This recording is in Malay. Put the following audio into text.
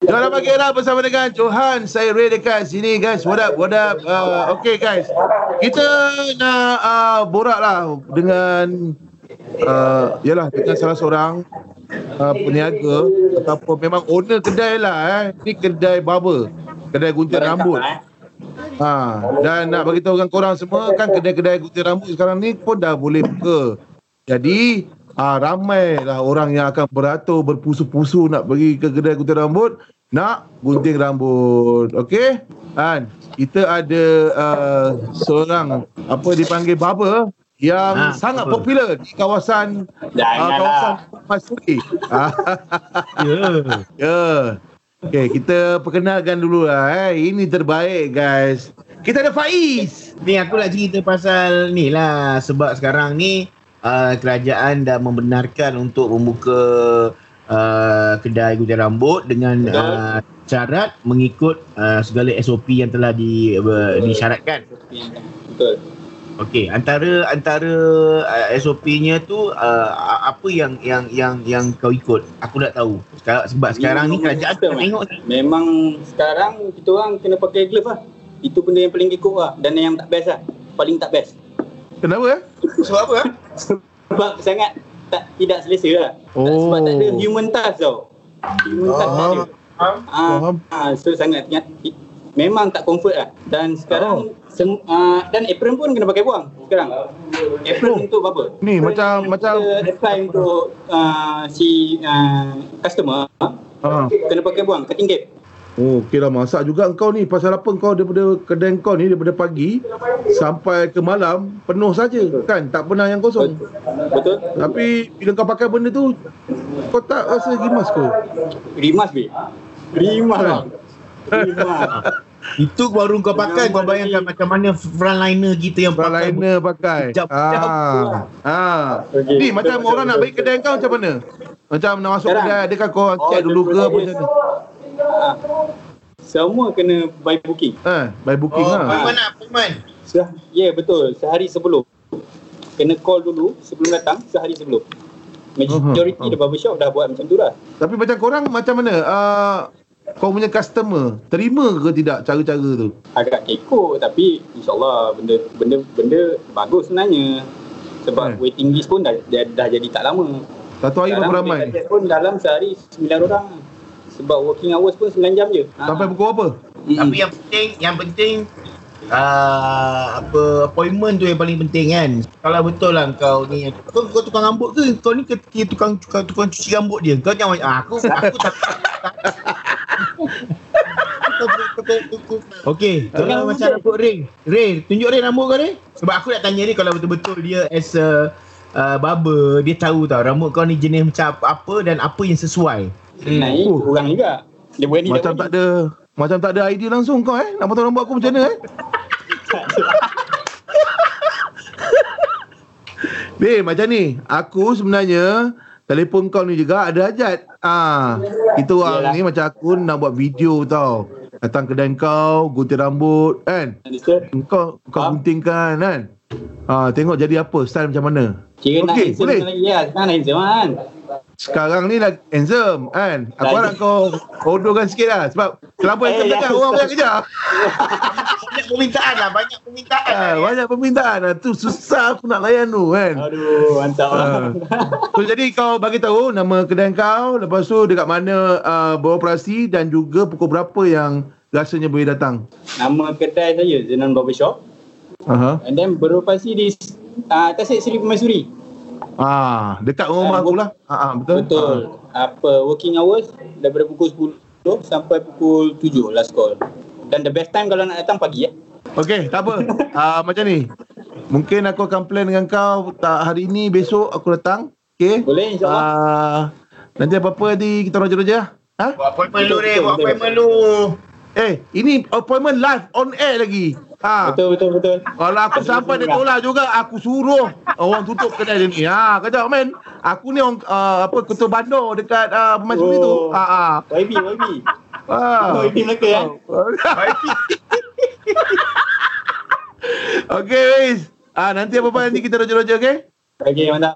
Jom pagi era bersama dengan Johan. Saya Ray dekat sini guys. What up? What up? Uh, okay guys. Kita nak uh, borak lah dengan uh, yalah dengan salah seorang uh, peniaga ataupun memang owner kedai lah eh. Ni kedai barber. Kedai gunting rambut. Ha, dan nak bagi tahu kan korang semua kan kedai-kedai gunting rambut sekarang ni pun dah boleh buka. Jadi ah ramailah orang yang akan beratur berpusu-pusu nak pergi ke kedai gunting rambut nak gunting rambut. Okey? Han, kita ada uh, seorang apa dipanggil barber yang ha, Ha, sangat apa? popular di kawasan uh, kawasan Janganlah. Mas Suri. Ah, Ya. ya. Okey, kita perkenalkan dulu lah eh. Ini terbaik guys. Kita ada Faiz. Ni aku nak cerita pasal ni lah sebab sekarang ni uh, kerajaan dah membenarkan untuk membuka uh, kedai gunting rambut dengan uh, syarat mengikut uh, segala SOP yang telah di, uh, disyaratkan. Betul. Okey, antara antara uh, SOP-nya tu uh, a- apa yang yang yang yang kau ikut? Aku nak tahu. Sekarang, sebab sekarang ni kerajaan tengah tengok ni. Memang sekarang kita orang kena pakai glove lah. Itu benda yang paling kekok lah dan yang tak best lah. Paling tak best. Kenapa eh? Sebab apa? Sebab sangat tak tidak selesa lah. Oh. Tak- Sebab tak ada human touch tau. Human touch tak ada. Faham. Ah, ah, so sangat ingat memang tak comfort lah. Dan sekarang Oh. sem, ah, dan apron pun kena pakai buang sekarang. Apron Oh. untuk apa? Ni Apron macam kita macam apply untuk ah, si ah, customer ha. kena pakai buang cutting gap. Oh, okey lah masak juga engkau ni. Pasal apa engkau daripada kedai engkau ni daripada pagi sampai ke malam penuh saja kan? Tak pernah yang kosong. Betul? Tapi bila kau pakai benda tu kau tak rasa gimas kau. Rimas be. Rimas bang. Rimas. Itu baru kau pakai kau bayangkan macam mana frontliner kita yang pakai Frontliner pakai. Sekejap, sekejap. Ah. Ah. Okey, Ni betul, macam betul, orang nak betul, bagi kedai kau macam mana? Macam nak masuk Sekarang? kedai adakah kau Oh, check dulu ke daripada apa macam mana? Ah. Semua kena by booking. Eh, by booking Oh, lah. Paiman nak Paiman. Ya yeah, betul. Sehari sebelum. Kena call dulu sebelum datang sehari sebelum. Majority Aha, aha. uh-huh. the barbershop dah buat macam tu dah. Tapi macam korang macam mana? Uh, kau punya customer terima ke tidak cara-cara tu? Agak kekok tapi insyaallah benda benda benda bagus sebenarnya. Hmm. Sebab waiting list pun dah, dah, dah jadi tak lama. Satu hari berapa ramai? boleh target pun dalam sehari 9 orang. Sebab working hours pun 9 jam je. Ah. Sampai pukul apa? Mm-mm. Tapi yang penting, yang penting uh, apa appointment tu yang paling penting kan. Kalau betul lah kau ni kau, kau tukang rambut ke? Kau ni ke, ke tukang, tukang tukang cuci rambut dia. Kau jangan ah, aku aku tak Okey, kalau Tukang macam rambut Ray. Ray, tunjuk Ray rambut kau Ray. Sebab aku nak tanya dia kalau betul-betul dia as a uh, barber, dia tahu tau rambut kau ni jenis macam apa dan apa yang sesuai. Sebenarnya Oh. kurang juga. Dia berani Macam tak ada macam tak ada idea langsung kau eh? Nak potong rambut aku macam mana eh? Babe, macam ni. Aku sebenarnya telefon kau ni juga ada hajat. Ah, kita orang Yalah. ni macam aku nak buat video tau. Datang kedai kau, gunting rambut kan. Understand? Kau kau Faham. guntingkan kan. Ah, tengok jadi apa, style macam mana. Kira nak Okey, handsome boleh. lagi. Ya, sekarang nak handsome kan. Sekarang ni lagi handsome kan. Aku Lagi. harap kau kodokan sikit lah. Sebab terlampau Eh, handsome ya. belakang orang banyak kejar. Banyak permintaan lah, banyak permintaan. Ah, banyak permintaan lah. Tu susah aku nak layan tu kan. Aduh, mantap lah. Ah. So jadi kau bagi tahu nama kedai kau, lepas tu dekat mana uh, beroperasi dan juga pukul berapa yang rasanya boleh datang. Nama kedai saya Zenon Barber Shop Aha. and then beroperasi di uh, Tasik Seri Permaisuri. Ah, dekat rumah Ah, aku lah. Ah, ah, betul. Betul. Apa working hours daripada pukul 10 sampai pukul 7 last call. Dan the best time kalau nak datang pagi eh. Ah. Okey, tak apa. ah, macam ni. Mungkin aku akan plan dengan kau tak hari ni besok aku datang. Okey. Boleh insyaallah. Ah, nanti apa-apa di kita roja-roja. Ha? Buat appointment Betul, lu Ray, betul, buat betul. appointment lu. Eh, ini appointment live on air lagi. Ha. Betul betul betul. Kalau aku sampai dia tolak juga aku suruh orang tutup kedai dia ni. Ha kata men, aku ni orang uh, apa ketua bandar dekat uh, Pemain Suri tu. Oh. Ha ha. YB YB. Ha. Oh, YB Melaka eh. Okey, Riz. Ah nanti apa-apa nanti kita roja-roja okey? Okey, mantap.